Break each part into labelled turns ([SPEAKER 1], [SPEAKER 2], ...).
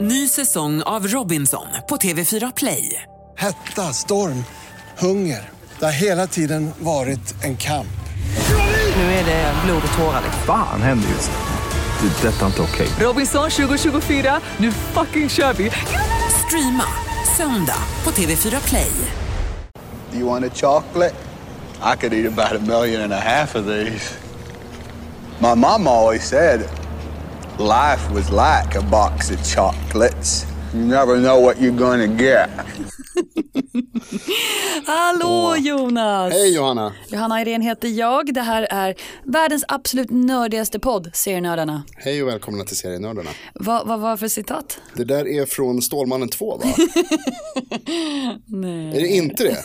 [SPEAKER 1] Ny säsong av Robinson på TV4 Play.
[SPEAKER 2] Hetta, storm, hunger. Det har hela tiden varit en kamp.
[SPEAKER 1] Nu är det blod och tårar. liksom.
[SPEAKER 3] Fan händer just nu. Det. är Detta är inte okej.
[SPEAKER 1] Robinson 2024, nu fucking kör vi! Streama söndag på TV4 Play.
[SPEAKER 4] Do you want a chocolate? I could eat about a million and a half of these. My mom always said life was like a box of chocolates. You never know what you're gonna get.
[SPEAKER 5] Hallå Jonas!
[SPEAKER 2] Hej Johanna!
[SPEAKER 5] Johanna Irene heter jag. Det här är världens absolut nördigaste podd, Serienördarna.
[SPEAKER 2] Hej och välkomna till Serienördarna.
[SPEAKER 5] Vad vad var för citat?
[SPEAKER 2] Det där är från Stålmannen 2 va? Nej. Är det inte det?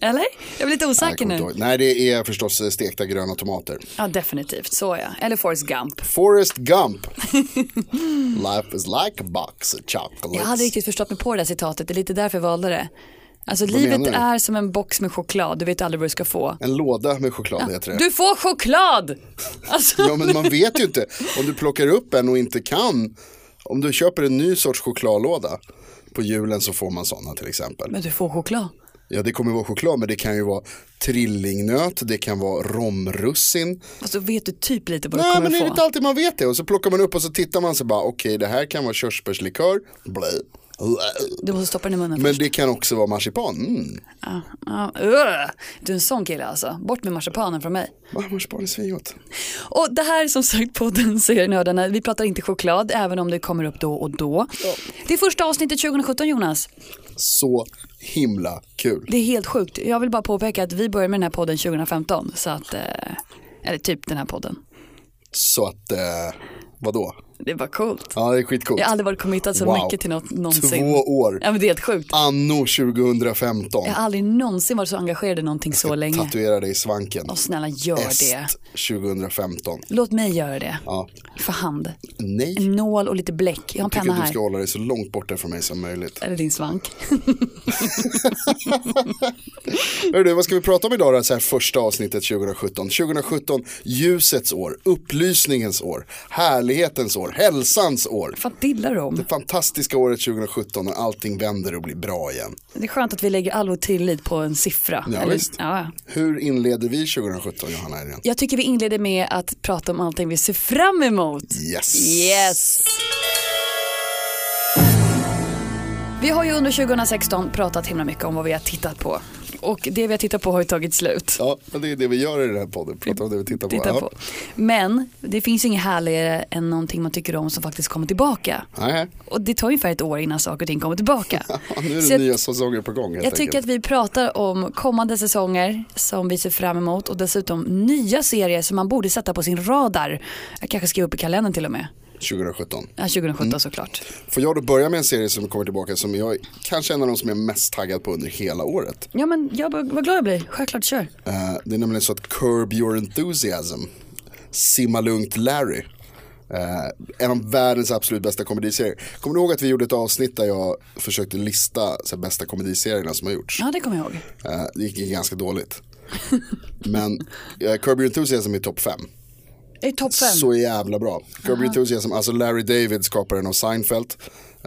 [SPEAKER 5] Eller? Jag blir lite
[SPEAKER 2] Nej, jag
[SPEAKER 5] osäker
[SPEAKER 2] kommer inte
[SPEAKER 5] nu.
[SPEAKER 2] ihåg. Nej, det är förstås stekta gröna tomater.
[SPEAKER 5] Ja, definitivt. Så ja. Eller Forrest Gump.
[SPEAKER 2] Forrest Gump. Life is like a box of chocolates.
[SPEAKER 5] Jag hade riktigt förstått mig på det där citatet. Det är lite därför jag valde det. Alltså
[SPEAKER 2] menar
[SPEAKER 5] livet
[SPEAKER 2] du?
[SPEAKER 5] är som en box med choklad. Du vet aldrig vad du ska få.
[SPEAKER 2] En låda med choklad heter det.
[SPEAKER 5] Du får choklad! Alltså,
[SPEAKER 2] Ja, men man vet ju inte. Om du plockar upp en och inte kan. Om du köper en ny sorts chokladlåda. På julen så får man sådana till exempel.
[SPEAKER 5] men du får choklad.
[SPEAKER 2] Ja, det kommer vara choklad, men det kan ju vara trillingnöt, det kan vara romrussin.
[SPEAKER 5] Fast då vet du typ lite vad du
[SPEAKER 2] Nej,
[SPEAKER 5] kommer
[SPEAKER 2] men det är
[SPEAKER 5] få.
[SPEAKER 2] inte alltid man vet det. Och så plockar man upp och så tittar man så bara, okej, det här kan vara körsbärslikör. Blä.
[SPEAKER 5] Du måste stoppa den i munnen
[SPEAKER 2] Men
[SPEAKER 5] först.
[SPEAKER 2] det kan också vara marsipan. Mm.
[SPEAKER 5] Ja, ja. Ugh. Du är en sån kille alltså. Bort med marsipanen från mig.
[SPEAKER 2] Va, Marsipan är svingott.
[SPEAKER 5] Och det här är som sagt podden Serienördarna. Vi pratar inte choklad även om det kommer upp då och då. Det är första avsnittet 2017 Jonas.
[SPEAKER 2] Så himla kul.
[SPEAKER 5] Det är helt sjukt. Jag vill bara påpeka att vi började med den här podden 2015. Så att, eh, eller typ den här podden.
[SPEAKER 2] Så att, eh, vadå?
[SPEAKER 5] Det var coolt.
[SPEAKER 2] Ja, det är skitcoolt.
[SPEAKER 5] Jag har aldrig varit committad så
[SPEAKER 2] Wow.
[SPEAKER 5] mycket till något någonsin.
[SPEAKER 2] Två år. Ah.
[SPEAKER 5] Ja men det är helt sjukt.
[SPEAKER 2] Anno 2015.
[SPEAKER 5] Jag har aldrig någonsin varit så engagerad i någonting så länge.
[SPEAKER 2] Tatuera dig i svanken.
[SPEAKER 5] Och snälla gör det.
[SPEAKER 2] Est 2015.
[SPEAKER 5] Låt mig göra det.
[SPEAKER 2] Ja.
[SPEAKER 5] För hand.
[SPEAKER 2] Nej.
[SPEAKER 5] En nål och lite bläck. Jag har en
[SPEAKER 2] Jag tycker
[SPEAKER 5] penna
[SPEAKER 2] att du
[SPEAKER 5] här.
[SPEAKER 2] ska hålla dig så långt borta från mig som möjligt.
[SPEAKER 5] Eller din svank.
[SPEAKER 2] Hör du, vad ska vi prata om idag då, så här första avsnittet 2017? 2017, ljusets år, upplysningens år, härlighetens år, hälsans år.
[SPEAKER 5] Fan dillar du om?
[SPEAKER 2] Det fantastiska året 2017 när allting vänder och blir bra igen.
[SPEAKER 5] Det är skönt att vi lägger all vår tillit på en siffra.
[SPEAKER 2] Ja,
[SPEAKER 5] Eller-
[SPEAKER 2] visst.
[SPEAKER 5] ja.
[SPEAKER 2] Hur inleder vi 2017 Johanna Irene?
[SPEAKER 5] Jag tycker vi inleder med att prata om allting vi ser fram emot.
[SPEAKER 2] Yes.
[SPEAKER 5] Yes! Vi har ju under 2016 pratat himla mycket om vad vi har tittat på. Och det vi har tittat på har ju tagit slut.
[SPEAKER 2] Ja, men det är det vi gör i den här podden, pratar om det vi tittar på.
[SPEAKER 5] Titta
[SPEAKER 2] Ja.
[SPEAKER 5] på. Men det finns ju inget härligare än någonting man tycker om som faktiskt kommer tillbaka.
[SPEAKER 2] Nej,
[SPEAKER 5] Och det tar ungefär ett år innan saker och ting kommer tillbaka.
[SPEAKER 2] ja, nu är
[SPEAKER 5] Så
[SPEAKER 2] det
[SPEAKER 5] jag-
[SPEAKER 2] nya säsonger på gång helt
[SPEAKER 5] Jag tycker att vi pratar om kommande säsonger som vi ser fram emot och dessutom nya serier som man borde sätta på sin radar. Jag kanske skriver upp i kalendern till och med.
[SPEAKER 2] att 2017.
[SPEAKER 5] Ja, 2017
[SPEAKER 2] Mm.
[SPEAKER 5] såklart.
[SPEAKER 2] Får jag då börja med en serie som kommer tillbaka som jag kanske är en av de som jag är mest taggad på under hela året.
[SPEAKER 5] Ja men jag, vad glad jag blir. Självklart kör.
[SPEAKER 2] Eh, det är nämligen så att Curb Your Enthusiasm, Simma Lugnt Larry, eh, en av världens absolut bästa komediserier. Kommer du ihåg att vi gjorde ett avsnitt där jag försökte lista så här, bästa komediserierna som har gjorts?
[SPEAKER 5] Ja det kommer jag ihåg.
[SPEAKER 2] Eh, det gick ju ganska dåligt. Men eh, Curb Your Enthusiasm är topp fem.
[SPEAKER 5] Det är topp fem.
[SPEAKER 2] Så jävla bra. Curb Your Enthusiasm, alltså Larry David, skaparen av Seinfeld,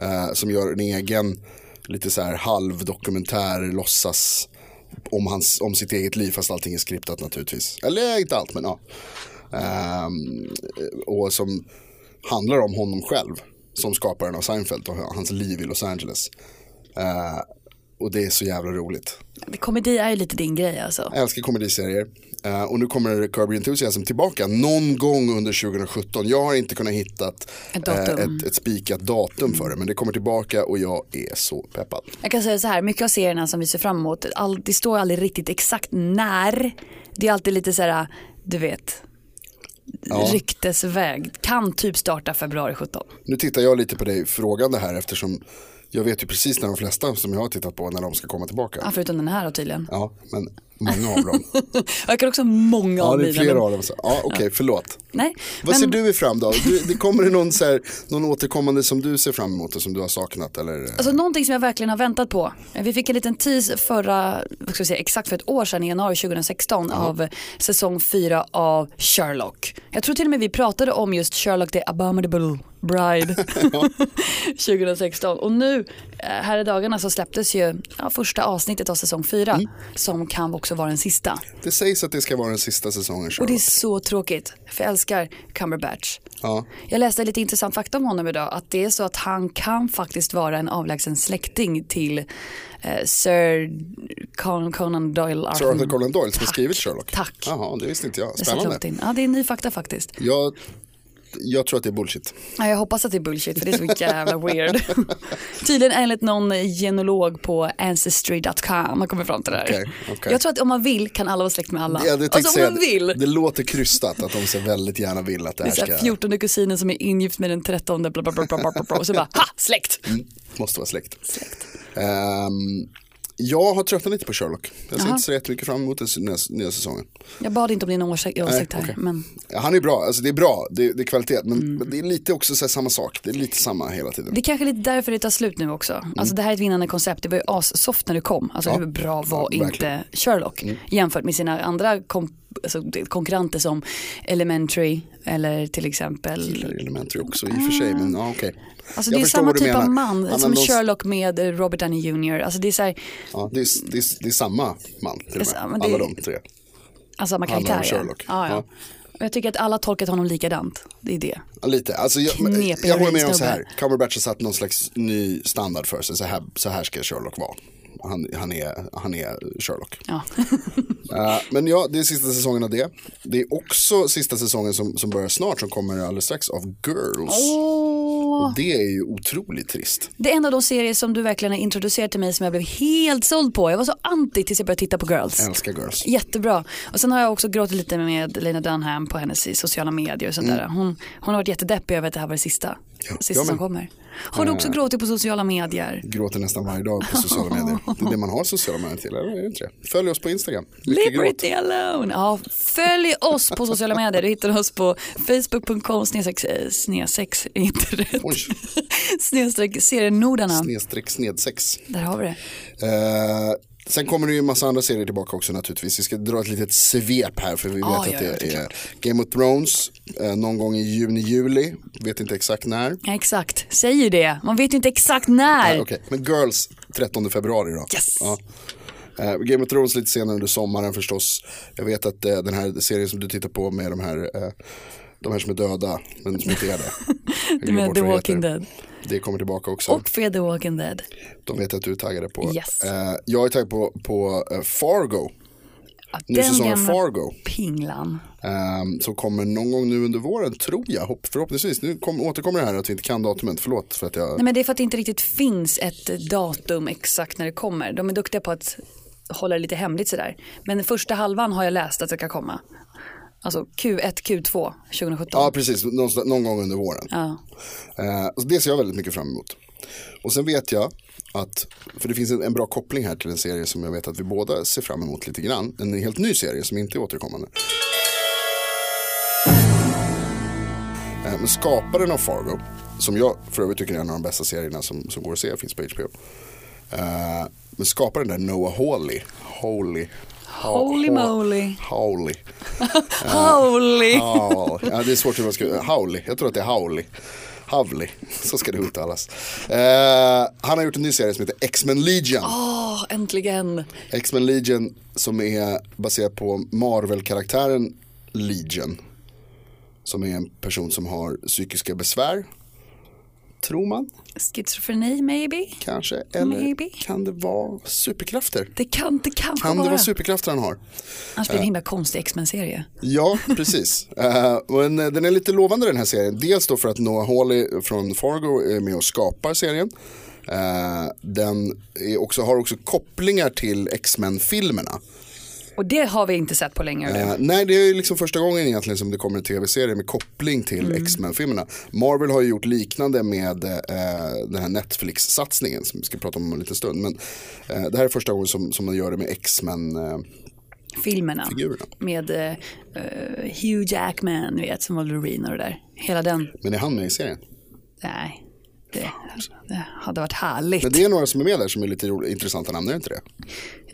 [SPEAKER 2] eh, som gör en egen lite så här halvdokumentär, låtsas om, hans, om sitt eget liv, fast allting är skriptat naturligtvis. Eller inte allt, men ja. Ehm, och som handlar om honom själv, som skaparen av Seinfeld och hans liv i Los Angeles. Eh, och det är så jävla roligt.
[SPEAKER 5] Komedi är ju lite din grej alltså.
[SPEAKER 2] Jag älskar komediserier. Eh, och nu kommer Curb Your Enthusiasm tillbaka någon gång under 2017. Jag har inte kunnat hitta
[SPEAKER 5] Ett datum.
[SPEAKER 2] ett, ett spikat datum för det. Men det kommer tillbaka och jag är så peppad.
[SPEAKER 5] Jag kan säga så här, mycket av serierna som vi ser fram emot, all, det står aldrig riktigt exakt när. Det är alltid lite så här, du vet, ryktesväg. Kan typ starta februari 17.
[SPEAKER 2] Nu tittar jag lite på dig frågande här eftersom jag vet ju precis när de flesta som jag har tittat på när de ska komma tillbaka.
[SPEAKER 5] Ja, förutom den här då tydligen.
[SPEAKER 2] Ja, men många av dem.
[SPEAKER 5] Jag kan också ha många
[SPEAKER 2] Ja,
[SPEAKER 5] av
[SPEAKER 2] det är
[SPEAKER 5] mina.
[SPEAKER 2] flera
[SPEAKER 5] men-
[SPEAKER 2] av dem. Så- Ja, okej, förlåt.
[SPEAKER 5] Nej,
[SPEAKER 2] Vad ser
[SPEAKER 5] men
[SPEAKER 2] du fram då? Du, det kommer det någon, så här, någon återkommande som du ser fram emot och som du har saknat? Eller?
[SPEAKER 5] alltså, någonting som jag verkligen har väntat på. Vi fick en liten tease förra, vad ska jag säga, exakt för ett år sedan i januari 2016 av säsong 4 av Sherlock. Jag tror till och med vi pratade om just Sherlock the Abominable Bride 2016. Och nu eh, här i dagarna så släpptes ju ja, första avsnittet av säsong 4 som kan också vara den sista.
[SPEAKER 2] Det sägs att det ska vara den sista säsongen
[SPEAKER 5] Och det är
[SPEAKER 2] Charlotte.
[SPEAKER 5] så tråkigt för jag älskar Cumberbatch.
[SPEAKER 2] Ja.
[SPEAKER 5] Jag läste lite intressant fakta om honom idag att det är så att han kan faktiskt vara en avlägsen släkting till eh, Sir Con Conan Doyle.
[SPEAKER 2] Sir Arthur Conan Doyle som har
[SPEAKER 5] Mm. Tack.
[SPEAKER 2] skrivit Sherlock.
[SPEAKER 5] Tack.
[SPEAKER 2] Jaha, det visste inte jag.
[SPEAKER 5] Det satt
[SPEAKER 2] Spännande.
[SPEAKER 5] långt in. Ja, det är ny fakta faktiskt.
[SPEAKER 2] Jag, jag tror att det är bullshit.
[SPEAKER 5] Ja, jag hoppas att det är bullshit för det är så jävla weird. Tydligen enligt någon genolog på ancestry.com man kommer fram till det här.
[SPEAKER 2] Okej, okej.
[SPEAKER 5] Jag tror att om man vill kan alla vara släkt med alla.
[SPEAKER 2] Jag hade tänkt
[SPEAKER 5] alltså om
[SPEAKER 2] säga,
[SPEAKER 5] man vill.
[SPEAKER 2] det låter krystat att de så väldigt gärna vill att det
[SPEAKER 5] Det
[SPEAKER 2] här
[SPEAKER 5] är så här,
[SPEAKER 2] ska,
[SPEAKER 5] 14 kusinen som är ingift med den 13 bla bla bla bla bla bla, bla och så bara ha släkt.
[SPEAKER 2] Mm. måste vara släkt. Ehm, jag har tröttnat lite på Sherlock. Jag ser
[SPEAKER 5] Jaha.
[SPEAKER 2] inte så jättemycket fram emot den s- nya, nya säsongen.
[SPEAKER 5] Jag bad inte om din åsikt åsikt här
[SPEAKER 2] okej.
[SPEAKER 5] men
[SPEAKER 2] Han är bra, alltså det är bra, det, det är kvalitet. Men men det är lite också så här samma sak, det är lite samma hela tiden.
[SPEAKER 5] Mm. det är kanske lite därför det tar slut nu också. Alltså det här är ett vinnande koncept, det var ju assoft när du kom. Alltså
[SPEAKER 2] Mm. Ja.
[SPEAKER 5] hur bra var
[SPEAKER 2] Ja, verkligen. Mm.
[SPEAKER 5] inte Sherlock jämfört med sina andra kom- alltså, konkurrenter som Elementary eller till exempel
[SPEAKER 2] Eller Elementary också i och för sig, men ja okej.
[SPEAKER 5] Alltså
[SPEAKER 2] Jag
[SPEAKER 5] det är
[SPEAKER 2] förstår
[SPEAKER 5] samma
[SPEAKER 2] vad du
[SPEAKER 5] typ
[SPEAKER 2] menar.
[SPEAKER 5] av man
[SPEAKER 2] Ja,
[SPEAKER 5] som
[SPEAKER 2] men de-
[SPEAKER 5] Sherlock med eh, Robert Downey Jr. Alltså det är så här,
[SPEAKER 2] Ja, det, är, det, är, det är samma man till och med.
[SPEAKER 5] Ja, men det-
[SPEAKER 2] Alla de tre.
[SPEAKER 5] alltså samma
[SPEAKER 2] Handlar om
[SPEAKER 5] karaktär. ja.
[SPEAKER 2] Sherlock.
[SPEAKER 5] Ja, ja.
[SPEAKER 2] Ja.
[SPEAKER 5] Och jag tycker att alla har tolkat honom likadant. Det är det.
[SPEAKER 2] Ja, Lite, alltså jag, men-
[SPEAKER 5] Knepig
[SPEAKER 2] jag håller med om
[SPEAKER 5] heroinsnubbe.
[SPEAKER 2] så här. Cumberbatch har satt någon slags ny standard för sig. Så här, så här ska Sherlock vara. Han, han, är, han är Sherlock.
[SPEAKER 5] Ja.
[SPEAKER 2] Eh, men ja, det är sista säsongen av det. Det är också sista säsongen som, som börjar snart, som kommer alldeles strax, av Girls. Och det är ju otroligt trist.
[SPEAKER 5] Det är en av de serier som du verkligen har introducerat till mig som jag blev helt såld på. Jag var så anti tills jag började titta på Girls.
[SPEAKER 2] Jag älskar Girls.
[SPEAKER 5] Jättebra. Och sen har jag också gråtit lite med Lena Dunham på hennes i sociala medier och sånt där.
[SPEAKER 2] Mm.
[SPEAKER 5] Hon, hon har varit jättedeppig över att det här var det sista. sista
[SPEAKER 2] jag
[SPEAKER 5] som
[SPEAKER 2] med.
[SPEAKER 5] kommer. Har du också
[SPEAKER 2] Eh.
[SPEAKER 5] gråtit på sociala medier?
[SPEAKER 2] Gråter nästan varje dag på sociala medier. Det är det man har sociala medier till, eller är det inte det? Följ oss på Instagram. Lycka gråt.
[SPEAKER 5] Liberty alone. Ja, följ oss på sociala medier. Du hittar oss på facebook.com snedstreck eh, snedsex, inte rätt.
[SPEAKER 2] Oj.
[SPEAKER 5] Snedstreck serienordarna.
[SPEAKER 2] Snedstreck snedsex.
[SPEAKER 5] Där har vi det.
[SPEAKER 2] Eh, sen kommer det ju en massa andra serier tillbaka också naturligtvis. Vi ska dra ett litet svep här för vi vet
[SPEAKER 5] Ja,
[SPEAKER 2] att
[SPEAKER 5] ja,
[SPEAKER 2] det
[SPEAKER 5] ja, det är
[SPEAKER 2] är Game of Thrones eh, någon gång i juni-juli. Vet inte exakt när.
[SPEAKER 5] Ja, exakt, säger ju det. Man vet ju inte exakt när.
[SPEAKER 2] Nej, okej. Men Girls 13 februari då.
[SPEAKER 5] Yes.
[SPEAKER 2] Ja. Eh, Game of Thrones lite senare under sommaren förstås. Jag vet att eh, den här serien som du tittar på med de här, eh, de här som är döda men som inte är det. Jag
[SPEAKER 5] Du
[SPEAKER 2] glömmer
[SPEAKER 5] menar
[SPEAKER 2] bort
[SPEAKER 5] The
[SPEAKER 2] vad det
[SPEAKER 5] Walking
[SPEAKER 2] heter.
[SPEAKER 5] Dead.
[SPEAKER 2] Det kommer tillbaka också.
[SPEAKER 5] Och Fear the Walking Dead.
[SPEAKER 2] De vet att du är taggade på.
[SPEAKER 5] Yes.
[SPEAKER 2] Eh, jag är taggad på, på eh, Fargo.
[SPEAKER 5] Ja,
[SPEAKER 2] Ny säsong av Fargo.
[SPEAKER 5] pinglan.
[SPEAKER 2] Ehm, som kommer någon gång nu under våren, tror jag, hopp, förhoppningsvis. Nu kom, återkommer det här att vi inte kan datumet, förlåt för att jag...
[SPEAKER 5] Nej men det är för att det inte riktigt finns ett datum exakt när det kommer. De är duktiga på att hålla det lite hemligt sådär. Men den första halvan har jag läst att det ska komma. Alltså Q1, Q2 2017.
[SPEAKER 2] Ja, precis, någonstans- någon gång under våren.
[SPEAKER 5] Ja.
[SPEAKER 2] Eh, och det ser jag väldigt mycket fram emot. Och sen vet jag att, för det finns en, en bra koppling här till en serie som jag vet att vi båda ser fram emot lite grann. En helt ny serie som inte är återkommande. Eh, men skaparen av Fargo, som jag för övrigt tycker är en av de bästa serierna som, som går att se, finns på HBO. Eh, men skaparen där, Noah Hawley. Hawley. Ha-
[SPEAKER 5] Holy
[SPEAKER 2] Ha-
[SPEAKER 5] moly.
[SPEAKER 2] Hawley.
[SPEAKER 5] Holy!
[SPEAKER 2] Ja, ja, det är svårt hur man ska Howley, jag tror att det är Howley. Havli, så ska det uttalas. Eh, han har gjort en ny serie som heter X-Men Legion.
[SPEAKER 5] Åh, äntligen.
[SPEAKER 2] X-Men Legion som är baserad på Marvel-karaktären Legion. Som är en person som har psykiska besvär. Tror man
[SPEAKER 5] Schizofreni maybe?
[SPEAKER 2] kanske. Eller
[SPEAKER 5] Maybe.
[SPEAKER 2] kan det vara superkrafter?
[SPEAKER 5] Det kan, det kan,
[SPEAKER 2] Kan det
[SPEAKER 5] vara.
[SPEAKER 2] vara superkrafter han har?
[SPEAKER 5] Annars blir det en himla konstig X-Men-serie.
[SPEAKER 2] Ja, precis. Eh, men eh, den är lite lovande den här serien. Dels då för att Noah Hawley från Fargo är med och skapar serien. Eh, den är också, har också kopplingar till X-Men-filmerna.
[SPEAKER 5] Och det har vi inte sett på länge. eller?
[SPEAKER 2] Eh, nej, det är ju liksom första gången egentligen som det kommer en tv-serie med koppling till X-Men-filmerna. Marvel har ju gjort liknande med eh, den här Netflix-satsningen som vi ska prata om om en liten stund. Men eh, det här är första gången som, som man gör det med X-Men. Eh,
[SPEAKER 5] Filmerna.
[SPEAKER 2] Figurerna.
[SPEAKER 5] Med eh, eh, Hugh Jackman, du vet, som Wolverine och det där. Hela den.
[SPEAKER 2] men är han med i serien?
[SPEAKER 5] Nej, det, det hade varit härligt.
[SPEAKER 2] Men det är några som är med där som är lite ro- intressanta namn, är det inte det?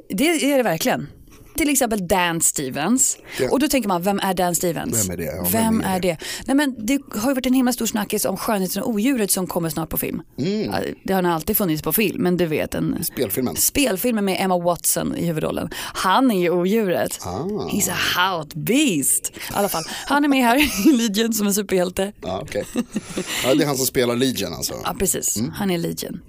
[SPEAKER 5] Det är det verkligen. till exempel Dan Stevens.
[SPEAKER 2] Ja.
[SPEAKER 5] Och då tänker man, vem är Dan Stevens?
[SPEAKER 2] Vem är det? Ja,
[SPEAKER 5] vem
[SPEAKER 2] vem är
[SPEAKER 5] är det? Nej, men det har ju varit en himla stor snackis om Skönheten och odjuret som kommer snart på film.
[SPEAKER 2] Mm.
[SPEAKER 5] Ja, Det har nog alltid funnits på film, men du vet en
[SPEAKER 2] Spelfilmen.
[SPEAKER 5] spelfilmen med Emma Watson i huvudrollen. Han är ju odjuret.
[SPEAKER 2] Ah.
[SPEAKER 5] He's a hot beast. I alla fall, han är med här i Legion som en superhjälte.
[SPEAKER 2] Ja, okej. ja, det är han som spelar Legion alltså.
[SPEAKER 5] Ja, precis. Han är Legion.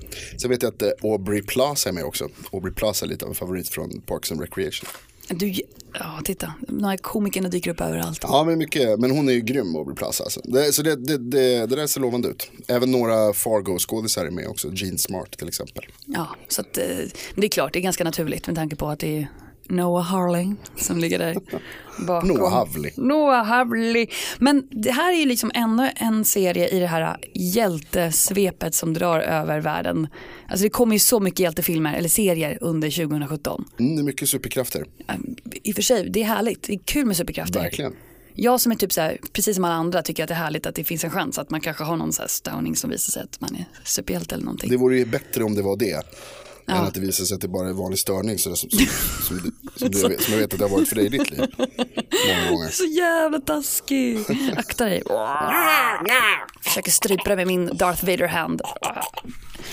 [SPEAKER 2] Sen vet jag att eh, Aubrey Plaza är med också. Aubrey Plaza är lite av en favorit från Parks and Recreation.
[SPEAKER 5] Du, ja, titta. De här komikerna dyker upp överallt.
[SPEAKER 2] Ja, men, mycket, men hon är ju grym Aubrey Plaza. Alltså. Det, så det, det, det, det där ser lovande ut. Även några Fargo-skådisar är med också. Gene Smart till exempel.
[SPEAKER 5] Ja, så att, eh, men det är klart, det är ganska naturligt med tanke på att det är Noah Harling som ligger där bakom.
[SPEAKER 2] Noah Havli.
[SPEAKER 5] Noah Havli. Men det här är ju liksom ännu en serie i det här hjältesvepet som drar över världen. Alltså det kommer ju så mycket hjältefilmer eller serier under 2017.
[SPEAKER 2] Mm, det är mycket superkrafter.
[SPEAKER 5] Ehm, I och för sig, det är härligt. Det är kul med superkrafter.
[SPEAKER 2] Verkligen.
[SPEAKER 5] Jag som är typ så här, precis som alla andra, tycker att det är härligt att det finns en chans att man kanske har någon så här störning som visar sig att man är superhjälte eller någonting.
[SPEAKER 2] Det vore ju bättre om det var det. Än att det visar sig att det bara är vanlig störning så, som, som, som, du- som, du, som jag vet att det har varit för dig i ditt liv. Många gånger.
[SPEAKER 5] Så jävla taskig. Akta dig. Försöker strypa dig med min Darth Vader-hand.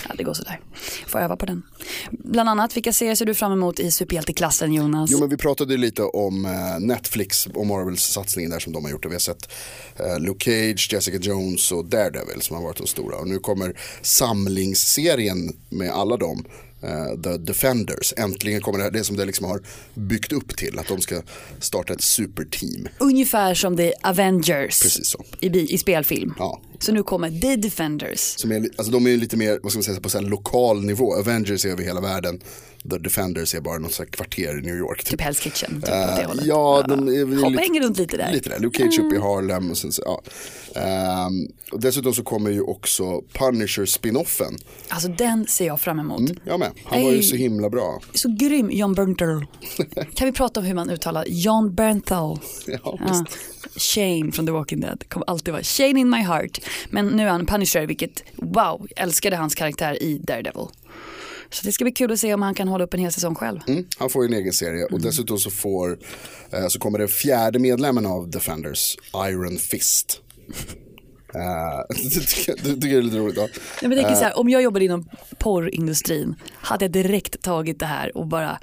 [SPEAKER 5] Ja, det går sådär. Får öva på den. Bland annat, vilka serier ser du fram emot i superhjälteklassen Jonas?
[SPEAKER 2] Jo men vi pratade ju lite om eh, Netflix och Marvels satsning där som de har gjort. Och vi har sett eh, Luke Cage, Jessica Jones och Daredevil som har varit de stora. Och nu kommer samlingsserien med alla dem. eh, The Defenders. Äntligen kommer det här, det som det liksom har byggt upp till. Att de ska starta ett superteam.
[SPEAKER 5] Ungefär som The Avengers
[SPEAKER 2] Precis så.
[SPEAKER 5] I, bi- i spelfilm.
[SPEAKER 2] Ja.
[SPEAKER 5] Så nu kommer The Defenders.
[SPEAKER 2] Som är, li- alltså de är ju lite mer, vad ska man säga, på så här lokal nivå. Avengers är över hela världen. The Defenders är bara något så här kvarter i New York.
[SPEAKER 5] Typ Hell's Kitchen. Typ åt det
[SPEAKER 2] Eh,
[SPEAKER 5] hållet.
[SPEAKER 2] ja, de är väl
[SPEAKER 5] Hoppa
[SPEAKER 2] lite-
[SPEAKER 5] hänger runt lite där. Mm.
[SPEAKER 2] Lite där, Luke Cage uppe i Harlem och sen så, ja. Ehm, och dessutom så kommer ju också Punisher spinoffen.
[SPEAKER 5] Alltså den ser jag fram emot.
[SPEAKER 2] Jag med, han var ju
[SPEAKER 5] Ej.
[SPEAKER 2] så himla bra.
[SPEAKER 5] Så grym John Bernthal. Kan vi prata om hur man uttalar John Bernthal?
[SPEAKER 2] Ja,
[SPEAKER 5] Ja. Shane från The Walking Dead kommer alltid vara Shane in my heart. Men nu är han Punisher vilket wow, älskade hans karaktär i Daredevil. Så det ska bli kul att se om han kan hålla upp en hel säsong själv.
[SPEAKER 2] Mm, han får ju en egen serie
[SPEAKER 5] Mm.
[SPEAKER 2] och dessutom så, får, eh, så kommer den fjärde medlemmen av Defenders, Iron Fist. Eh, du, tycker, du tycker det är lite roligt? Ja.
[SPEAKER 5] Jag men tänker
[SPEAKER 2] Eh.
[SPEAKER 5] så här, om jag jobbade inom porrindustrin hade jag direkt tagit det här och bara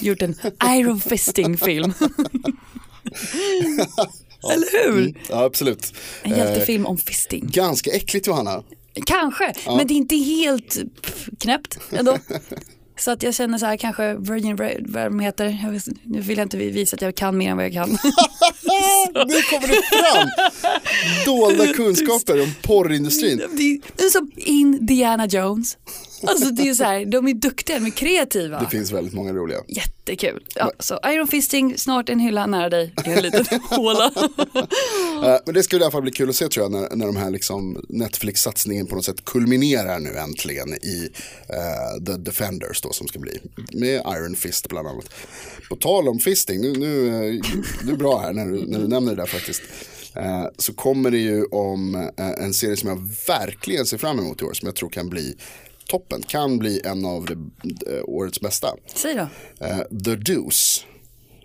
[SPEAKER 5] gjort en Iron Fisting-film. Eller hur?
[SPEAKER 2] Mm, ja, absolut.
[SPEAKER 5] En
[SPEAKER 2] Eh,
[SPEAKER 5] hjältefilm om fisting.
[SPEAKER 2] ganska äckligt Johanna.
[SPEAKER 5] Kanske, men det är inte helt pff, knäppt ändå. Så att jag känner så här kanske Virgin, Ra- vad de heter, jag vet, nu vill jag inte visa att jag kan mer än vad jag kan.
[SPEAKER 2] Nu kommer det fram dolda kunskaper om porrindustrin.
[SPEAKER 5] det, är, det är som Indiana Jones. Alltså det är så här, de är duktiga, de är kreativa.
[SPEAKER 2] Det finns väldigt många roliga.
[SPEAKER 5] Jättekul. Ja, så Iron Fisting, snart en hylla nära dig, i en liten håla.
[SPEAKER 2] Eh, Men det ska i alla fall bli kul att se tror jag när, när de här liksom Netflix-satsningen på något sätt kulminerar nu äntligen i eh, The Defenders då som ska bli. Med Iron Fist bland annat. På tal om fisting, nu, nu, eh, du är bra här när du, när du nämner det där faktiskt. Eh, så kommer det ju om eh, en serie som jag verkligen ser fram emot i år som jag tror kan bli toppen, kan bli en av det, eh, årets bästa.
[SPEAKER 5] Säg då,
[SPEAKER 2] Eh, The Deuce,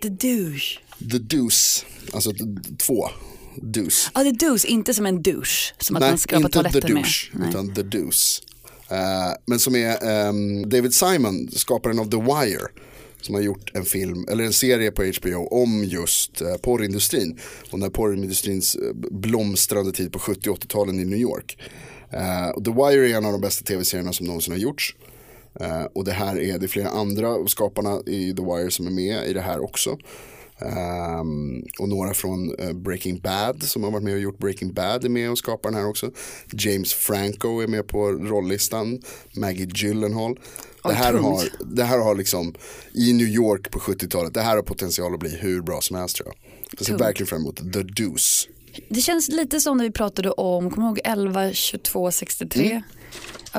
[SPEAKER 5] The Douche.
[SPEAKER 2] The Deuce, alltså t- två, Deuce.
[SPEAKER 5] Ja, The Douche, inte som en douche, som att
[SPEAKER 2] Nej,
[SPEAKER 5] man skrapar
[SPEAKER 2] inte The
[SPEAKER 5] toaletten med.
[SPEAKER 2] Douche,
[SPEAKER 5] Nej.
[SPEAKER 2] utan The Deuce. Eh, men som är ehm, David Simon, skaparen av The Wire. Som har gjort en film, eller en serie på HBO om just eh, porrindustrin. Och när porrindustrins eh, blomstrande tid på 70 och 80-talen i New York. Eh, och The Wire är en av de bästa tv-serierna som någonsin har gjorts. Eh, och det här är, det är flera andra av skaparna i The Wire som är med i det här också. Ehm, och några från eh, Breaking Bad som har varit med och gjort Breaking Bad är med och skapar den här också. James Franco är med på rolllistan. Maggie Gyllenhaal. Det här,
[SPEAKER 5] tungt.
[SPEAKER 2] har, det här har liksom i New York på 70-talet, det här har potential att bli hur bra som helst tror jag. Jag ser
[SPEAKER 5] Tungt.
[SPEAKER 2] verkligen fram emot The Deuce.
[SPEAKER 5] Det känns lite som när vi pratade om, kommer du ihåg 11, 22, 63? Ja,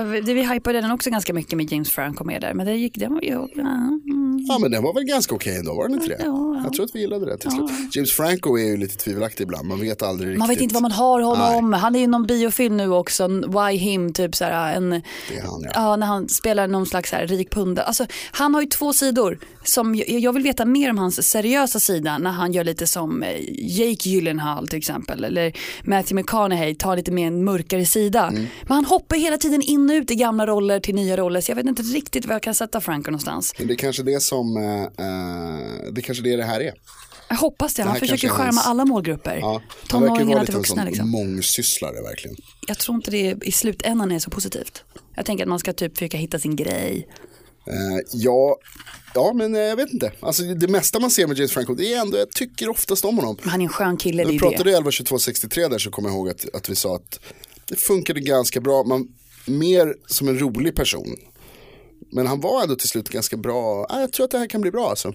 [SPEAKER 5] vi- Det, vi hypade den också ganska mycket med James Franco med där, men det gick, den var ju, ja, mm,
[SPEAKER 2] Ja men den var väl ganska okej ändå, var den inte det?
[SPEAKER 5] Ja, ja.
[SPEAKER 2] Jag tror att vi gillade det till slut. James Franco är ju lite tvivelaktig ibland, man vet aldrig riktigt.
[SPEAKER 5] Man vet inte vad man har honom. Han är ju i någon biofilm nu också, en Why Him, typ så här, en,
[SPEAKER 2] Det är han, ja.
[SPEAKER 5] när han spelar någon slags så här, rik pundare. Alltså, han har ju två sidor. Som, jag, jag vill veta mer om hans seriösa sida när han gör lite som eh, Jake Gyllenhaal till exempel. Eller Matthew McConaughey tar lite mer en mörkare sida.
[SPEAKER 2] Mm.
[SPEAKER 5] Men han hoppar hela tiden in och ut i gamla roller till nya roller. Så jag vet inte riktigt var jag kan sätta Franco någonstans.
[SPEAKER 2] Men det är kanske det som, eh, eh, det är kanske det det här är.
[SPEAKER 5] Jag hoppas det.
[SPEAKER 2] Det
[SPEAKER 5] Han
[SPEAKER 2] här
[SPEAKER 5] försöker
[SPEAKER 2] kanske är
[SPEAKER 5] skärma
[SPEAKER 2] hans-
[SPEAKER 5] alla målgrupper.
[SPEAKER 2] Ja, han verkar ju vara
[SPEAKER 5] Tonåringarna
[SPEAKER 2] lite
[SPEAKER 5] till
[SPEAKER 2] en
[SPEAKER 5] vuxna
[SPEAKER 2] sån
[SPEAKER 5] liksom.
[SPEAKER 2] mångsysslare verkligen.
[SPEAKER 5] jag tror inte det i slutändan är så positivt. Jag tänker att man ska typ försöka hitta sin grej.
[SPEAKER 2] Eh, ja, ja, men eh, jag vet inte. Alltså, det mesta man ser med James Franco, det är ändå, jag tycker oftast om honom.
[SPEAKER 5] Men han är en skön kille,
[SPEAKER 2] När
[SPEAKER 5] det
[SPEAKER 2] vi
[SPEAKER 5] är ju det.
[SPEAKER 2] pratade 11 22 63 där så kommer jag ihåg att, att vi sa att det funkade ganska bra, man, mer som en rolig person. Men han var ändå till slut ganska bra, ah, jag tror att det här kan bli bra alltså.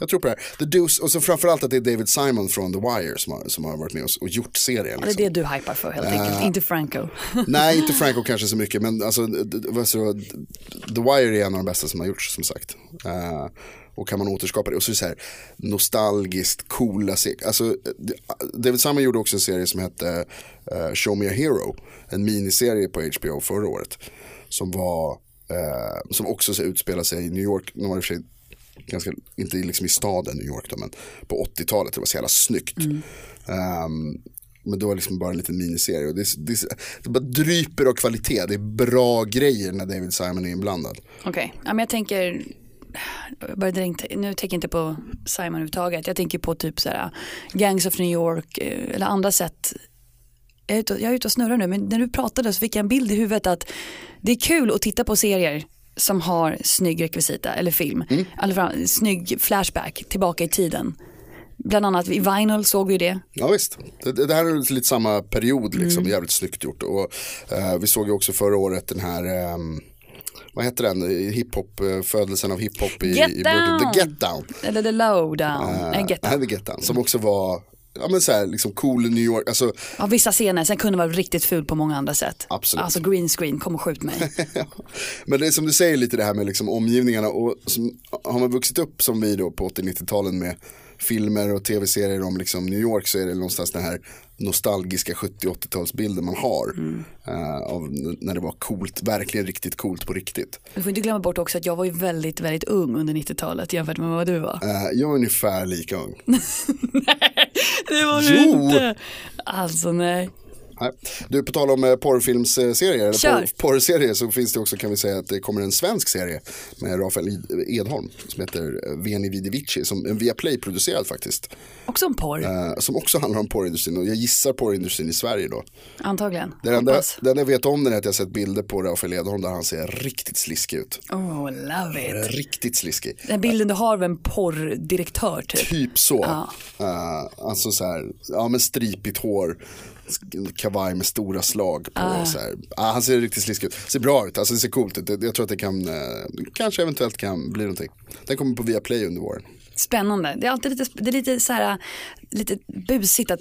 [SPEAKER 2] Jag tror på det här. The Deuce, och så framförallt att det är David Simon från The Wire som har, som har varit med oss och gjort serien.
[SPEAKER 5] Det är
[SPEAKER 2] liksom.
[SPEAKER 5] det du hypar för helt enkelt, inte Franco.
[SPEAKER 2] Nej, inte Franco kanske så mycket, men alltså, d- d- vad så- d- The Wire är en av de bästa som har gjorts som sagt. Eh, och kan man återskapa det. Och så är det så här nostalgiskt coola serier. Alltså, d- David Simon gjorde också en serie som hette eh, Show Me A Hero. En miniserie på HBO förra året. Som var, eh, som också så utspelar sig i New York. Nu var det i och för sig ganska, inte liksom i staden New York då, men på 80-talet, det var så jävla snyggt.
[SPEAKER 5] Mm.
[SPEAKER 2] Ehm, men det var liksom bara en liten miniserie. Och det, är- det, är- det bara dryper av kvalitet, det är bra grejer när David Simon är inblandad.
[SPEAKER 5] Okej, ja, men jag tänker, jag började direkt, nu tänker jag inte på Simon överhuvudtaget, jag tänker på typ så här Gangs of New York eh, eller andra sätt. Jag är, ute och, jag är ute och snurrar nu, men när du pratade så fick jag en bild i huvudet att det är kul att titta på serier som har snygg rekvisita eller film, eller fram, snygg flashback tillbaka i tiden. Bland annat i Vinyl såg vi ju det,
[SPEAKER 2] Ja visst, det, det det här är lite samma period liksom,
[SPEAKER 5] Mm.
[SPEAKER 2] jävligt snyggt gjort. Och, eh, vi såg ju också förra året den här, ehm, vad heter den, hiphop, eh, födelsen av hiphop i,
[SPEAKER 5] Get
[SPEAKER 2] i
[SPEAKER 5] Down!
[SPEAKER 2] The Get Down. Eh,
[SPEAKER 5] eller The Lowdown,
[SPEAKER 2] Ah,
[SPEAKER 5] nej Get Down.
[SPEAKER 2] Nej, The Get Down, som också var, ja men så här, liksom cool New York, alltså
[SPEAKER 5] Ja, vissa scener, sen kunde det vara riktigt ful på många andra sätt.
[SPEAKER 2] Absolut.
[SPEAKER 5] Alltså green screen, kom och skjut mig.
[SPEAKER 2] Ja. Men det är som du säger lite det här med liksom omgivningarna och som, har man vuxit upp som vi då på 80-90-talen med filmer och tv-serier om liksom New York så är det någonstans den här nostalgiska 70-80-talsbilden man har eh, av n- när det var coolt, verkligen riktigt coolt på riktigt.
[SPEAKER 5] Du får inte glömma bort också att jag var ju väldigt, väldigt ung under 90-talet jämfört med vad du var.
[SPEAKER 2] Eh, jag är ungefär lika ung.
[SPEAKER 5] Det var
[SPEAKER 2] du Jo. inte.
[SPEAKER 5] Alltså nej.
[SPEAKER 2] Nej. Du, på tal om eh, porrfilmsserier, eller
[SPEAKER 5] Kör.
[SPEAKER 2] porr, porrserier så finns det också kan vi säga att det kommer en svensk serie med Rafael Id- Edholm som heter eh, Veni Vidi Vici, som en Viaplay-producerad faktiskt.
[SPEAKER 5] Också en porr,
[SPEAKER 2] Eh, som också handlar om porrindustrin och jag gissar porrindustrin i Sverige då.
[SPEAKER 5] antagligen.
[SPEAKER 2] Det enda,
[SPEAKER 5] Hoppas.
[SPEAKER 2] det enda jag vet om den är att jag sett bilder på Rafael Edholm där han ser riktigt sliskig ut.
[SPEAKER 5] Oh, love it.
[SPEAKER 2] Riktigt sliskig.
[SPEAKER 5] Den bilden du har av en porrdirektör typ.
[SPEAKER 2] Typ så. Eh, alltså så här, ja men stripigt hår, sk- kavaj med stora slag på. Så här. Ja, han ser riktigt sliskig ut. Ser bra ut, alltså det ser coolt ut. Det- Jag tror att det kan, eh, kanske eventuellt kan bli någonting. Den kommer på Viaplay under våren.
[SPEAKER 5] Spännande. Det är alltid lite, det är lite, så här, lite busigt att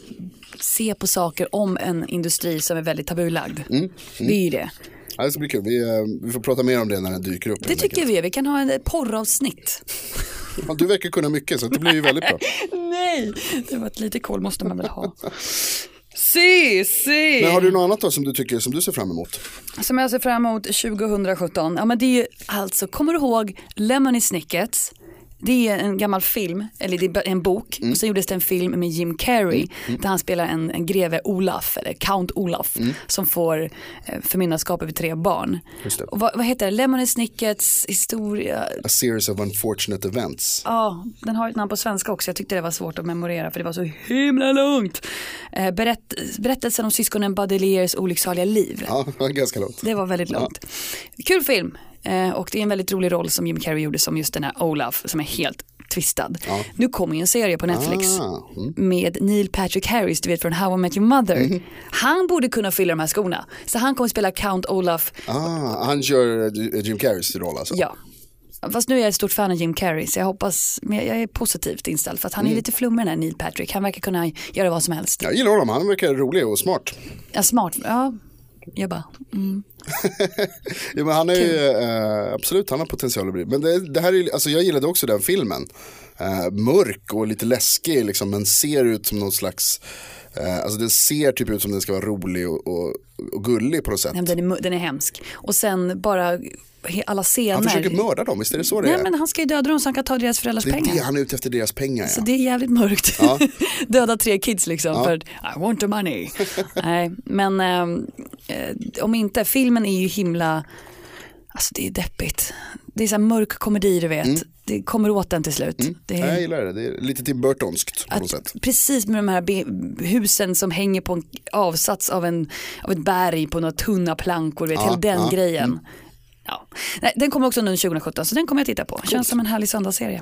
[SPEAKER 5] se på saker om en industri som är väldigt tabulagd.
[SPEAKER 2] Mm.
[SPEAKER 5] Det är ju det.
[SPEAKER 2] Ja, det ska bli kul, vi, eh, vi får prata mer om det när den dyker upp.
[SPEAKER 5] Det tycker vi, vi kan ha en porravsnitt.
[SPEAKER 2] ja, du verkar kunna mycket så det blir ju väldigt bra.
[SPEAKER 5] Nej, det var ett lite koll måste man väl ha. Se, se.
[SPEAKER 2] Men har du något annat då som du tycker som du ser fram emot?
[SPEAKER 5] Som jag ser fram emot 2017. Ja men det är ju alltså, kommer du ihåg Lemony Snickets? Det är en gammal film, eller det är en bok.
[SPEAKER 2] Mm.
[SPEAKER 5] Och sen gjordes det en film med Jim Carrey där han spelar en, en greve Olaf, eller Count Olaf,
[SPEAKER 2] Mm.
[SPEAKER 5] som får eh, förmyndarskap över tre barn.
[SPEAKER 2] Just det.
[SPEAKER 5] Och vad, vad heter det? Lemony Snickets historia?
[SPEAKER 2] A series of unfortunate events.
[SPEAKER 5] Ja, den har ett namn på svenska också. Jag tyckte det var svårt att memorera för det var så himla långt. Eh, berätt, berättelsen om syskonen Baudelaires olycksaliga liv.
[SPEAKER 2] Ja, ganska långt.
[SPEAKER 5] Det var väldigt långt. Kul film. Eh, och det är en väldigt rolig roll som Jim Carrey gjorde som just den här Olaf som är helt twistad. Nu kommer ju en serie på Netflix
[SPEAKER 2] Ah,
[SPEAKER 5] med Neil Patrick Harris, du vet från How I Met Your Mother. Han borde kunna fylla de här skorna. Så han kommer spela Count Olaf,
[SPEAKER 2] Ah, han kör eh, Jim Carreys roll alltså?
[SPEAKER 5] ja. Fast nu är jag ett stort fan av Jim Carrey så jag hoppas, men jag är positivt inställd för att
[SPEAKER 2] Mm.
[SPEAKER 5] han är lite flummig den här Neil Patrick. Han verkar kunna göra vad som helst.
[SPEAKER 2] Jag gillar honom, han verkar rolig och smart.
[SPEAKER 5] Ja, smart, ja. Jag bara,
[SPEAKER 2] Ja, men han är ju, eh, absolut, han har potential att bli. Men det, det här är, ju- alltså jag gillade också den filmen. Eh, mörk och lite läskig liksom, men ser ut som någon slags, eh, alltså den ser typ ut som den ska vara rolig och, och, och gullig på något sätt.
[SPEAKER 5] nej, men den, är, mu- den är hemsk. Och sen bara he- alla scener.
[SPEAKER 2] han försöker mörda dem, visst är det så det
[SPEAKER 5] Nej
[SPEAKER 2] är?
[SPEAKER 5] men han ska ju döda dem så han kan ta deras föräldrars
[SPEAKER 2] det är
[SPEAKER 5] pengar.
[SPEAKER 2] det han är ute efter, deras pengar
[SPEAKER 5] Så
[SPEAKER 2] ja.
[SPEAKER 5] det är jävligt mörkt. Döda tre kids liksom för I want the money. Nej, men ehm, eh, om inte, filmen är ju himla, alltså det är deppigt. Det är så här mörk komedi du vet. Det kommer åt den till slut. Det
[SPEAKER 2] Nej,
[SPEAKER 5] är,
[SPEAKER 2] jag gillar det, det är lite Tim Burtonskt på något sätt.
[SPEAKER 5] Precis med de här be- husen som hänger på en avsats av, en, av ett berg på några tunna plankor, du vet, hela den grejen. Ja. Nej, den kommer också nu 2017 så den kommer jag titta på. Känns som en härlig söndagsserie.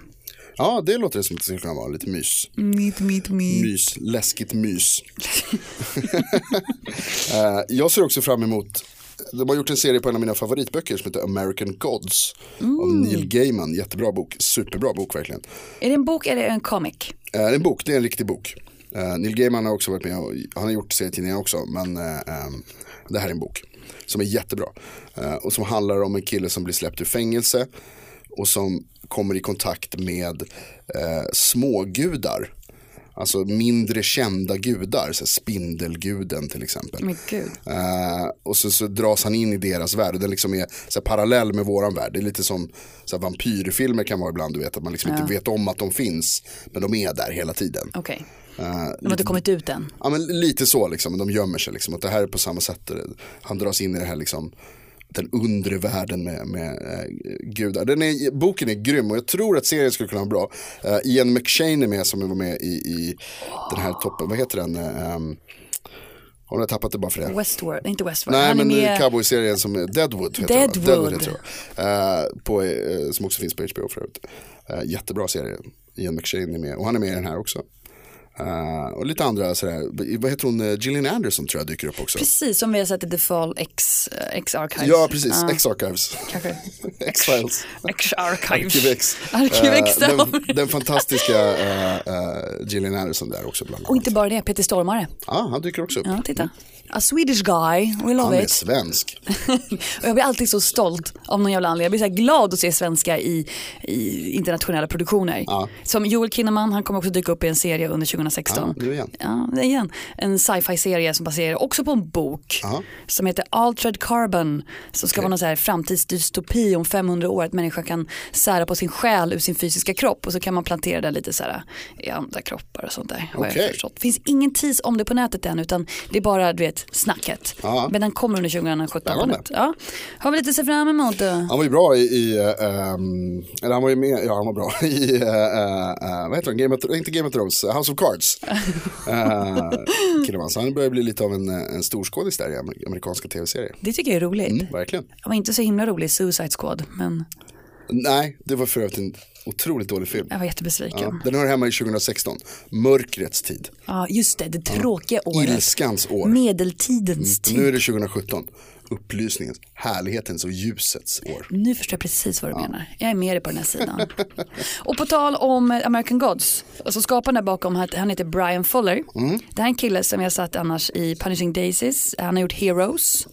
[SPEAKER 2] Ja, det låter det som att det skulle kunna vara lite mys.
[SPEAKER 5] Mm.
[SPEAKER 2] Mys, läskigt mys. Eh, jag ser också fram emot, de har gjort en serie på en av mina favoritböcker som heter American Gods av Neil Gaiman, jättebra bok, superbra bok verkligen.
[SPEAKER 5] Är det en bok eller är det en comic?
[SPEAKER 2] Eh, det är en bok, det är en riktig bok. Eh, Neil Gaiman har också varit med och han har gjort serietidningar också men eh, ehm, det här är en bok som är jättebra. Eh, och som handlar om en kille som blir släppt ur fängelse och som kommer i kontakt med eh, smågudar. Alltså mindre kända gudar, så här spindelguden till exempel.
[SPEAKER 5] Men gud.
[SPEAKER 2] Eh, och så, så dras han in i deras värld. Och Den liksom är så här, parallell med våran värld. Det är lite som så här, vampyrfilmer kan vara ibland. Du vet att man liksom inte vet om att de finns. Men de är där hela tiden.
[SPEAKER 5] Okej,
[SPEAKER 2] Eh,
[SPEAKER 5] de har inte kommit ut än.
[SPEAKER 2] ja, men lite så liksom. De gömmer sig liksom. Och det här är på samma sätt. Han dras in i det här liksom. Den undre världen med, med eh, gudar. Den är, boken är grym och jag tror att serien skulle kunna vara bra. Eh, Ian McShane är med som var med i, i den här toppen. Vad heter den? Uh, har jag tappat det bara för det?
[SPEAKER 5] Westworld, inte Westworld.
[SPEAKER 2] Nej
[SPEAKER 5] han
[SPEAKER 2] men
[SPEAKER 5] är
[SPEAKER 2] i
[SPEAKER 5] med...
[SPEAKER 2] cowboy-serien som är Deadwood heter den, va?
[SPEAKER 5] Deadwood.
[SPEAKER 2] Deadwood heter den. Eh, på, eh, Som också finns på HBO för övrigt. Eh, jättebra serie. Ian McShane är med och han är med i den här också. Eh, och lite andra sådär, vad heter hon, Eh, Gillian Anderson tror jag dyker upp också.
[SPEAKER 5] Precis som vi har sett i The Fall X, eh, X Archives.
[SPEAKER 2] Ja precis,
[SPEAKER 5] Ah,
[SPEAKER 2] X-Archives.
[SPEAKER 5] kanske.
[SPEAKER 2] X-Files.
[SPEAKER 5] X Archives.
[SPEAKER 2] Arkivex.
[SPEAKER 5] Arkivex,
[SPEAKER 2] Eh,
[SPEAKER 5] där har
[SPEAKER 2] den,
[SPEAKER 5] vi.
[SPEAKER 2] den fantastiska eh, eh, Gillian Anderson där också bland annat.
[SPEAKER 5] Och inte bara det, Peter Stormare.
[SPEAKER 2] Ja, han dyker också upp.
[SPEAKER 5] Ja, titta. A Swedish guy, we
[SPEAKER 2] Han
[SPEAKER 5] love
[SPEAKER 2] är
[SPEAKER 5] it.
[SPEAKER 2] svensk.
[SPEAKER 5] Och jag blir alltid så stolt av någon jävla anledning. Jag blir så här glad att se svenskar i, i internationella produktioner. Som Joel Kinnaman, han kommer också dyka upp i en serie under 2016.
[SPEAKER 2] Ja, nu igen.
[SPEAKER 5] Ja, det är igen. En sci-fi-serie som baserar också på en bok som heter Altered Carbon som ska vara någon så här framtidsdystopi om 500 år att människan kan sära på sin själ ur sin fysiska kropp och så kan man plantera den lite så här i andra kroppar och sånt där. har jag
[SPEAKER 2] Okej.
[SPEAKER 5] förstått. Det finns ingen tis om det på nätet än utan det är bara du vet snacket. Men den kommer under 2017 på
[SPEAKER 2] Spännande.
[SPEAKER 5] nätet. Ja. Har vi lite att se fram emot då?
[SPEAKER 2] Han var ju bra i, i eh, ehm, eller han var ju med, ja han var bra i, eh, eh, vad heter han, Game of, inte Game of Thrones, eh, House of Cards. uh, Kinnaman, så han börjar bli lite av en, eh, en storskådis där i amer- amerikanska tv-serier.
[SPEAKER 5] Det tycker jag är roligt.
[SPEAKER 2] Verkligen.
[SPEAKER 5] Det var inte så himla rolig i Suicide Squad men
[SPEAKER 2] Nej, det var för övrigt en otroligt dålig film.
[SPEAKER 5] jag var jättebesviken.
[SPEAKER 2] Ja,
[SPEAKER 5] Ja,
[SPEAKER 2] den hör hemma i 2016, mörkrets tid,
[SPEAKER 5] just det, det tråkiga året.
[SPEAKER 2] ilskans år. Mm.
[SPEAKER 5] Medeltidens tid.
[SPEAKER 2] Nu är det 2017, upplysningens, härlighetens och ljusets år.
[SPEAKER 5] Nu förstår jag precis vad du menar. Jag är med dig på den här sidan. och på tal om eh, American Gods, alltså skaparen där bakom, han- han heter Brian Fuller.
[SPEAKER 2] Mm.
[SPEAKER 5] Det här är en kille som jag satt annars i Punishing Daisies, han har gjort Heroes.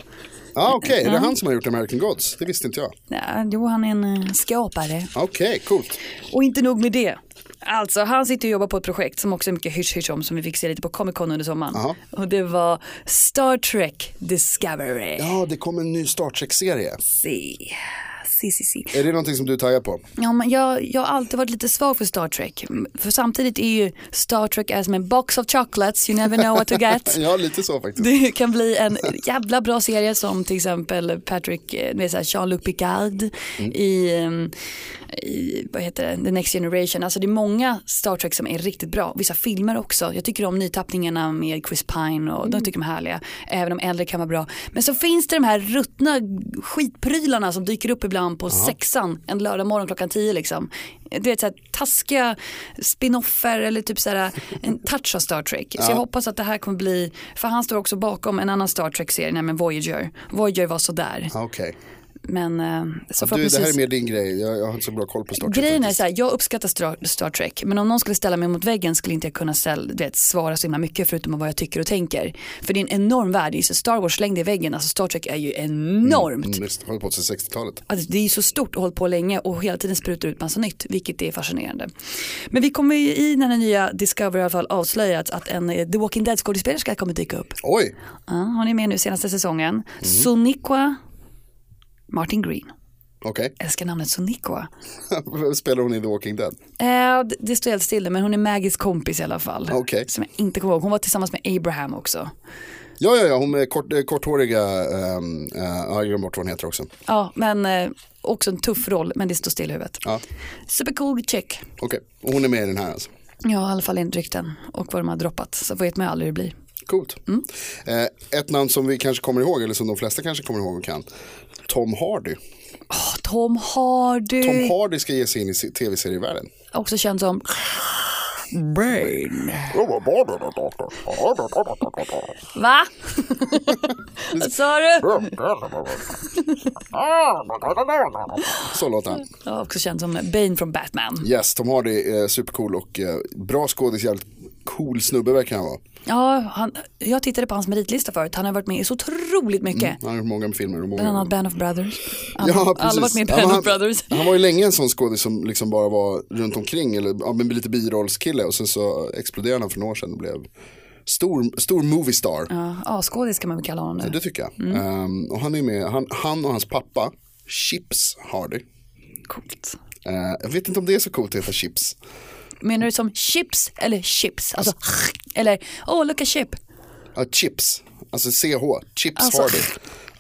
[SPEAKER 2] Ja ah, okej, det är han som har gjort American Gods, det visste inte jag.
[SPEAKER 5] Ja, jo, han är en eh, skapare.
[SPEAKER 2] Okej, coolt.
[SPEAKER 5] Och inte nog med det. Alltså han sitter och jobbar på ett projekt som också är mycket hysch-hysch om som vi fick se lite på Comic Con under sommaren. Och det var Star Trek Discovery.
[SPEAKER 2] Ja, det kom en ny Star Trek-serie.
[SPEAKER 5] Se. Se, se, se.
[SPEAKER 2] Är det någonting som du är taggad på?
[SPEAKER 5] Ja, men jag, jag har alltid varit lite svag för Star Trek. För samtidigt är ju Star Trek är som en box of chocolates, you never know what to get.
[SPEAKER 2] Ja, lite så faktiskt.
[SPEAKER 5] Det kan bli en jävla bra serie som till exempel Patrick, eh, med så här Jean-Luc Picard i, ehm, i, vad heter det, The Next Generation. Alltså det är många Star Trek som är riktigt bra, vissa filmer också. Jag tycker om nytappningarna med Chris Pine och
[SPEAKER 2] Mm.
[SPEAKER 5] de tycker de är härliga. Även om äldre kan vara bra. Men så finns det de här ruttna skitprylarna som dyker upp ibland på sexan en lördag morgon klockan tio liksom. Du vet så här taskiga spinoffer eller typ så här en touch av Star Trek. Så jag hoppas att det här kommer bli, för han står också bakom en annan Star Trek-serie, nämligen Voyager. Voyager var sådär.
[SPEAKER 2] Ah, Okej.
[SPEAKER 5] Men eh, så
[SPEAKER 2] Du, det här
[SPEAKER 5] förhoppningsvis-
[SPEAKER 2] är mer din grej. Jag, jag har inte så bra koll på Star Trek.
[SPEAKER 5] Grejen är
[SPEAKER 2] faktiskt.
[SPEAKER 5] så här, jag uppskattar Star, Star Trek, men om någon skulle ställa mig mot väggen skulle inte jag kunna ställa, du vet, svara så himla mycket förutom vad jag tycker och tänker. För det är en enorm värld, det är ju så Star Wars slängd i väggen, alltså Star Trek är ju enormt.
[SPEAKER 2] Mm, visst, håller på sedan 60-talet.
[SPEAKER 5] Alltså, det är ju så stort och hållit på länge och hela tiden sprutar ut massa nytt, vilket är fascinerande. Men vi kommer ju i när den nya Discovery i alla fall avslöjats att en eh, The Walking Dead skådespelerska kommer dyka upp.
[SPEAKER 2] Oj,
[SPEAKER 5] Ja, hon är med nu senaste säsongen.
[SPEAKER 2] Mm.
[SPEAKER 5] Soniqua Martin Green.
[SPEAKER 2] okej.
[SPEAKER 5] Älskar namnet Soniqua.
[SPEAKER 2] Vem Spelar hon i The Walking Dead?
[SPEAKER 5] Eh, det- det står helt stilla men hon är Maggies kompis i alla fall.
[SPEAKER 2] Okej.
[SPEAKER 5] Som jag inte kommer ihåg. Hon var tillsammans med Abraham också.
[SPEAKER 2] Ja, ja, ja, hon är kort, eh, korthåriga, ehm, eh, ja, jag glömde bort vad hon heter också.
[SPEAKER 5] Ja, men eh, också en tuff roll men det står still i huvudet.
[SPEAKER 2] Ja.
[SPEAKER 5] Supercool check.
[SPEAKER 2] Okej, och hon är med i den här alltså.
[SPEAKER 5] Ja, i alla fall enligt rykten och vad de har droppat. Så vet man ju aldrig hur det blir.
[SPEAKER 2] Coolt.
[SPEAKER 5] Mm.
[SPEAKER 2] Eh, ett namn som vi kanske kommer ihåg, eller som de flesta kanske kommer ihåg och kan. Tom Hardy.
[SPEAKER 5] Åh, Tom Hardy.
[SPEAKER 2] Tom Hardy ska ge sig in i se- tv-serievärlden.
[SPEAKER 5] också känd som Brain. Va? Vad sa du?
[SPEAKER 2] Så låter han.
[SPEAKER 5] Ja, också känd som Bane från Batman.
[SPEAKER 2] Yes, Tom Hardy är supercool och eh, bra skådis, jävligt cool snubbe verkar han vara.
[SPEAKER 5] Ja, han, jag tittade på hans meritlista förut. Han har varit med i så otroligt mycket.
[SPEAKER 2] Han har gjort många filmer. Och många...
[SPEAKER 5] Bland annat Band of Brothers. Alla,
[SPEAKER 2] Mm. Ja,
[SPEAKER 5] alla
[SPEAKER 2] precis.
[SPEAKER 5] varit med i
[SPEAKER 2] Ja,
[SPEAKER 5] Band
[SPEAKER 2] men
[SPEAKER 5] of Brothers.
[SPEAKER 2] Han, han var ju länge en sån skådis som liksom bara var runt omkring eller ja, men lite birollskille och sen så exploderade han för några år sedan och blev stor, stor moviestar.
[SPEAKER 5] Ja, Mm. Asskådis kan man väl kalla honom nu.
[SPEAKER 2] Det tycker jag. Ehm, och han, är med, han, han och hans pappa, Chips Hardy.
[SPEAKER 5] Coolt.
[SPEAKER 2] Eh, jag vet inte om det är så coolt att heta Chips.
[SPEAKER 5] Menar du som chips eller chips? Alltså, eller oh look a chip.
[SPEAKER 2] Ja, chips, alltså CH, Chips
[SPEAKER 5] Alltså,
[SPEAKER 2] Hardy.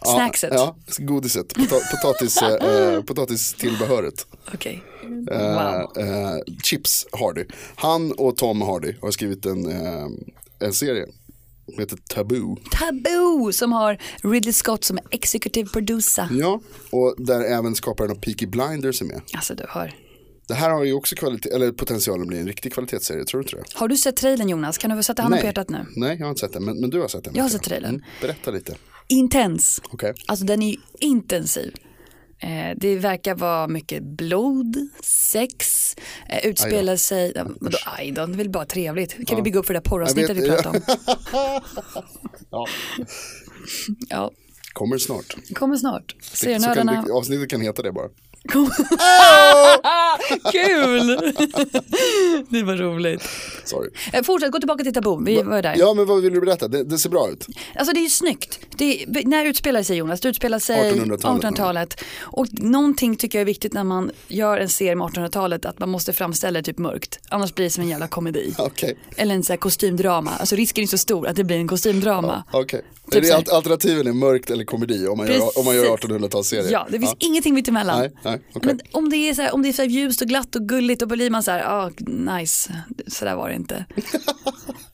[SPEAKER 2] Ja,
[SPEAKER 5] snackset.
[SPEAKER 2] Ja, godiset, pota potatis, eh, potatistillbehöret.
[SPEAKER 5] Okej.
[SPEAKER 2] Eh,
[SPEAKER 5] Wow.
[SPEAKER 2] eh, Chips Hardy. Han och Tom Hardy har skrivit en, eh, en serie. Som heter Taboo.
[SPEAKER 5] Taboo som har Ridley Scott som executive producer.
[SPEAKER 2] Ja, och där även skaparen av Peaky Blinders är med.
[SPEAKER 5] Alltså du hör.
[SPEAKER 2] Det här har ju också kvalitet, eller potentialen att bli en riktig kvalitetsserie, tror du inte det?
[SPEAKER 5] Har du sett trailern Jonas? Kan du sätta handen på hjärtat nu?
[SPEAKER 2] Nej, jag har inte sett den, men, men du har sett den.
[SPEAKER 5] Jag har
[SPEAKER 2] vet
[SPEAKER 5] sett trailern.
[SPEAKER 2] Berätta lite.
[SPEAKER 5] Intens.
[SPEAKER 2] Okej.
[SPEAKER 5] Alltså den är ju intensiv. Eh, det verkar vara mycket blod, sex, eh, utspelar sig, eh, vadå aj då, det är väl bara trevligt. Kan vi bygga upp för det där porravsnittet
[SPEAKER 2] Jag
[SPEAKER 5] vi
[SPEAKER 2] vet-
[SPEAKER 5] pratade om? ja,
[SPEAKER 2] Kommer snart.
[SPEAKER 5] det kommer snart.
[SPEAKER 2] Så kan
[SPEAKER 5] Serienördarna
[SPEAKER 2] det, avsnittet kan heta det bara.
[SPEAKER 5] Kul! det var roligt.
[SPEAKER 2] Sorry.
[SPEAKER 5] Eh, fortsätt, gå tillbaka till Taboo, vi var där.
[SPEAKER 2] Ja, men vad vill du berätta? Det, det ser bra ut.
[SPEAKER 5] Alltså det är ju snyggt. Det är, när utspelar det sig Jonas? Det utspelar sig
[SPEAKER 2] 1800-talet.
[SPEAKER 5] 1800-talet. Och någonting tycker jag är viktigt när man gör en serie med 1800-talet att man måste framställa det typ mörkt. Annars blir det som en jävla komedi.
[SPEAKER 2] Okej.
[SPEAKER 5] Eller en sån här kostymdrama. Alltså risken är så stor att det blir en kostymdrama.
[SPEAKER 2] Okej.
[SPEAKER 5] Typ
[SPEAKER 2] Är
[SPEAKER 5] så
[SPEAKER 2] det
[SPEAKER 5] här.
[SPEAKER 2] alt- Alternativen är mörkt eller komedi om man gör, om man gör
[SPEAKER 5] Precis.
[SPEAKER 2] 1800-talsserier.
[SPEAKER 5] Ja, det finns ingenting mitt emellan.
[SPEAKER 2] Nej, nej, okej.
[SPEAKER 5] Men om det är så här, om det är så här ljust och glatt och gulligt då blir man så här, ah, nice, så där var det inte.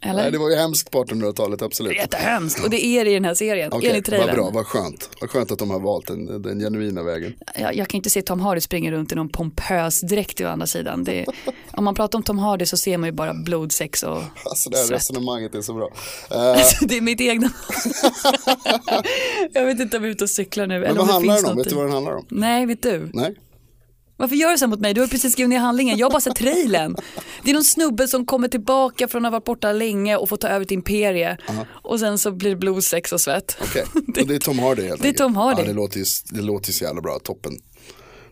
[SPEAKER 5] Eller?
[SPEAKER 2] Nej, det var ju hemskt på 1800-talet, absolut.
[SPEAKER 5] Jättehemskt och det är det i den här serien,
[SPEAKER 2] Okej,
[SPEAKER 5] enligt
[SPEAKER 2] vad
[SPEAKER 5] trailern.
[SPEAKER 2] bra, vad skönt. Vad skönt att de har valt den, den genuina vägen.
[SPEAKER 5] jag, jag kan inte se Tom Hardy springa runt i någon pompös dräkt å andra sidan. Det, om man pratar om Tom Hardy så ser man ju bara blod, sex och...
[SPEAKER 2] Alltså det här resonemanget är så bra. Eh,
[SPEAKER 5] Alltså, det är mitt egna. jag vet inte om jag är ute och cyklar nu.
[SPEAKER 2] men
[SPEAKER 5] eller
[SPEAKER 2] vad
[SPEAKER 5] om det
[SPEAKER 2] handlar
[SPEAKER 5] finns
[SPEAKER 2] den om?
[SPEAKER 5] något
[SPEAKER 2] Vet du
[SPEAKER 5] i-
[SPEAKER 2] vad den handlar om?
[SPEAKER 5] Nej, vet du.
[SPEAKER 2] Nej?
[SPEAKER 5] Varför gör du så här mot mig? Du har ju precis skrivit ner handlingen. Jag har bara sett trailern. Det är någon snubbe som kommer tillbaka från att ha varit borta länge och får ta över ett imperie. Och sen så blir det blod, sex och svett.
[SPEAKER 2] Okej, och det är Tom Hardy helt
[SPEAKER 5] Det är
[SPEAKER 2] enkelt.
[SPEAKER 5] Tom Hardy.
[SPEAKER 2] Ja, det, låter ju, det låter ju så jävla bra, toppen.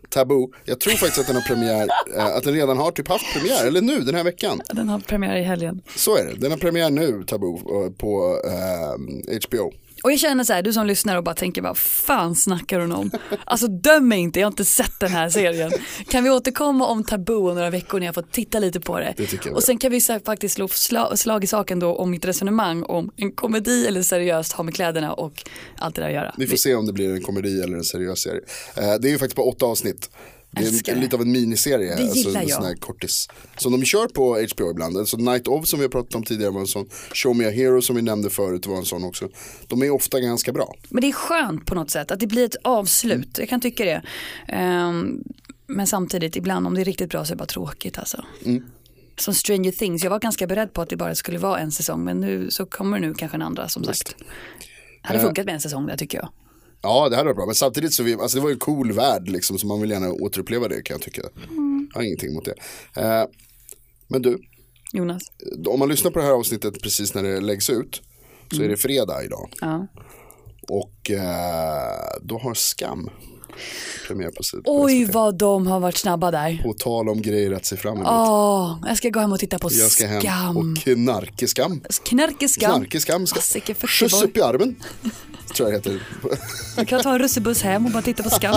[SPEAKER 2] Taboo, jag tror faktiskt att den har premiär, eh, att den redan har typ haft premiär, eller nu den här veckan.
[SPEAKER 5] Den har premiär i helgen.
[SPEAKER 2] Så är det, den har premiär nu, Taboo, eh, på eh, HBO.
[SPEAKER 5] Och jag känner så här, du som lyssnar och bara tänker vad fan snackar hon om? Alltså döm mig inte, jag har inte sett den här serien. Kan vi återkomma om Taboo om några veckor när jag fått titta lite på det?
[SPEAKER 2] Det tycker jag
[SPEAKER 5] och sen kan vi så här, faktiskt slå sla, slag i saken då om mitt resonemang om en komedi eller seriöst ha med kläderna och allt det där att göra.
[SPEAKER 2] Vi får se om det blir en komedi eller en seriös serie. Eh, det är ju faktiskt bara åtta avsnitt. Det är
[SPEAKER 5] Älskar
[SPEAKER 2] en,
[SPEAKER 5] det.
[SPEAKER 2] lite av en miniserie. alltså,
[SPEAKER 5] Det gillar
[SPEAKER 2] en
[SPEAKER 5] jag.
[SPEAKER 2] sån här kortis. Som de kör på HBO ibland. Alltså Night of som vi har pratat om tidigare var en sån. Show Me A Hero som vi nämnde förut var en sån också. De är ofta ganska bra.
[SPEAKER 5] Men det är skönt på något sätt att det blir ett avslut, jag kan tycka det. Ehm, men samtidigt ibland om det är riktigt bra så är det bara tråkigt alltså.
[SPEAKER 2] Mm.
[SPEAKER 5] Som Stranger Things, jag var ganska beredd på att det bara skulle vara
[SPEAKER 2] Eh.
[SPEAKER 5] en säsong men nu så kommer det nu kanske en andra som sagt. Hade funkat med en säsong där tycker jag.
[SPEAKER 2] Ja, det här var bra. Men samtidigt så vi, alltså det var ju en cool värld liksom. Så man vill gärna återuppleva det kan jag tycka.
[SPEAKER 5] Mm.
[SPEAKER 2] Jag har ingenting emot det. Eh, men du,
[SPEAKER 5] Jonas.
[SPEAKER 2] om man lyssnar på det här avsnittet precis när det läggs ut. Så är det fredag idag.
[SPEAKER 5] Mm. Ja.
[SPEAKER 2] Och eh, då har Skam premiär på sidan.
[SPEAKER 5] Oj vad de har varit snabba där.
[SPEAKER 2] På tal om grejer att se fram emot.
[SPEAKER 5] Åh, jag ska gå hem och titta på
[SPEAKER 2] jag ska hem
[SPEAKER 5] skam.
[SPEAKER 2] och knarkeskam.
[SPEAKER 5] Knarkeskam.
[SPEAKER 2] Knarkeskam. ska-
[SPEAKER 5] Fasiken, fuck
[SPEAKER 2] Skjuts
[SPEAKER 5] boy.
[SPEAKER 2] upp i armen. Tror jag det heter.
[SPEAKER 5] Du kan ta en russebuss hem och bara titta på skam.